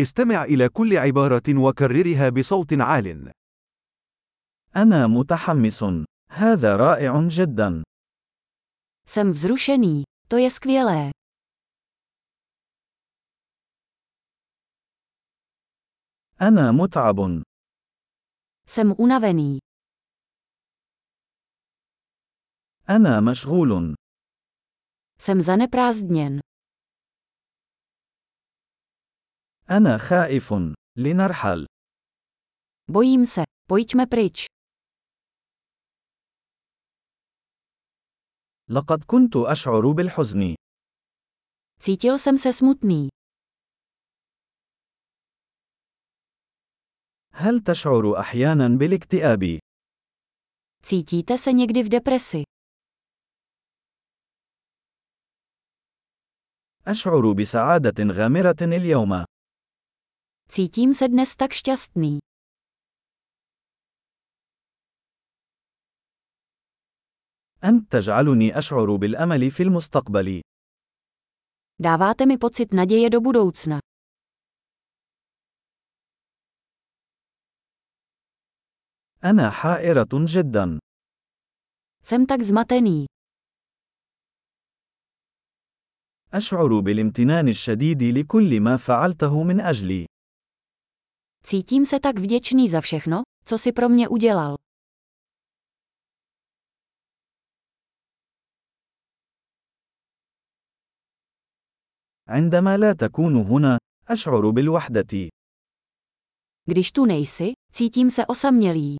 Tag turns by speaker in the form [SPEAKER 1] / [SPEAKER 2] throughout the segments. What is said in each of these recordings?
[SPEAKER 1] استمع إلى كل عبارة وكررها بصوت عال.
[SPEAKER 2] أنا متحمس. هذا رائع جدا.
[SPEAKER 3] Jsem vzrušený, to je skvělé.
[SPEAKER 2] أنا متعب.
[SPEAKER 3] Jsem unavený.
[SPEAKER 2] أنا مشغول.
[SPEAKER 3] Jsem zaneprázdněn.
[SPEAKER 2] أنا خائف. لنرحل.
[SPEAKER 3] Bojím se. Pojďme pryč.
[SPEAKER 2] لقد كنت أشعر بالحزن.
[SPEAKER 3] Cítil jsem se smutný.
[SPEAKER 2] هل تشعر أحيانا بالاكتئاب؟
[SPEAKER 3] Cítíte se někdy v depresi?
[SPEAKER 2] أشعر بسعادة غامرة اليوم.
[SPEAKER 3] Cítím se dnes tak šťastný.
[SPEAKER 2] أنت تجعلني أشعر بالأمل في المستقبل.
[SPEAKER 3] Dáváte mi pocit naděje do budoucna.
[SPEAKER 2] أنا حائرة جدا.
[SPEAKER 3] Jsem tak zmatený.
[SPEAKER 2] أشعر بالامتنان الشديد لكل ما فعلته من أجلي.
[SPEAKER 3] Cítím se tak vděčný za všechno, co si pro mě udělal.
[SPEAKER 2] عندما لا تكون هنا، أشعر بالوحدة.
[SPEAKER 3] Když tu nejsi, cítím se osamělý.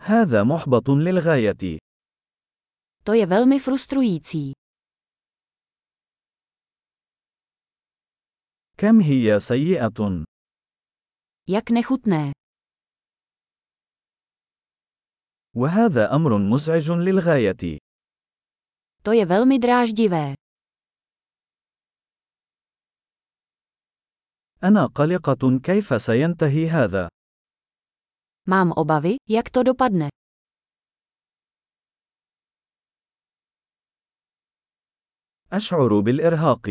[SPEAKER 2] هذا محبط للغاية.
[SPEAKER 3] To je velmi frustrující.
[SPEAKER 2] كم هي سيئة.
[SPEAKER 3] Jak nechutné.
[SPEAKER 2] وهذا أمر مزعج للغاية.
[SPEAKER 3] To je velmi dráždivé.
[SPEAKER 2] أنا قلقة كيف سينتهي هذا.
[SPEAKER 3] Mám obavy, jak to dopadne.
[SPEAKER 2] أشعر بالإرهاق.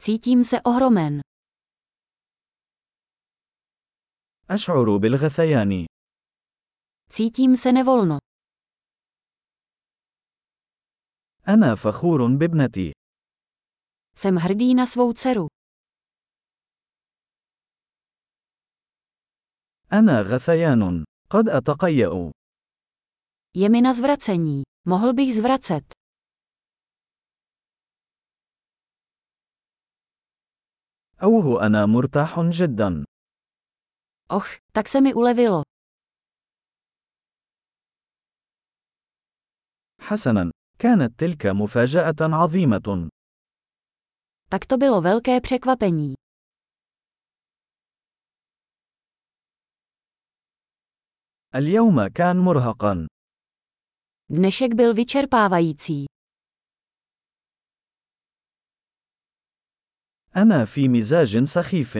[SPEAKER 3] Cítím se ohromen.
[SPEAKER 2] أشعر بالغثيان.
[SPEAKER 3] Cítím se nevolno.
[SPEAKER 2] أنا فخور بابنتي.
[SPEAKER 3] Jsem hrdý na svou dceru.
[SPEAKER 2] أنا غثيان. قد أتقيأ.
[SPEAKER 3] Je mi na zvracení. Mohl bych zvracet.
[SPEAKER 2] أوه أنا مرتاح جدا.
[SPEAKER 3] Och, tak se mi ulevilo.
[SPEAKER 2] حسنا، كانت تلك مفاجأة عظيمة.
[SPEAKER 3] Tak to bylo velké překvapení.
[SPEAKER 2] اليوم كان مرهقا.
[SPEAKER 3] Dnešek byl vyčerpávající.
[SPEAKER 2] أنا في مزاج سخيف.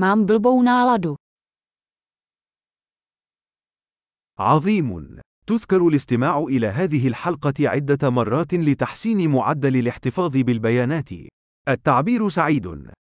[SPEAKER 3] Mám blbou náladu.
[SPEAKER 1] عظيم. تذكر الاستماع إلى هذه الحلقة عدة مرات لتحسين معدل الاحتفاظ بالبيانات. التعبير سعيد.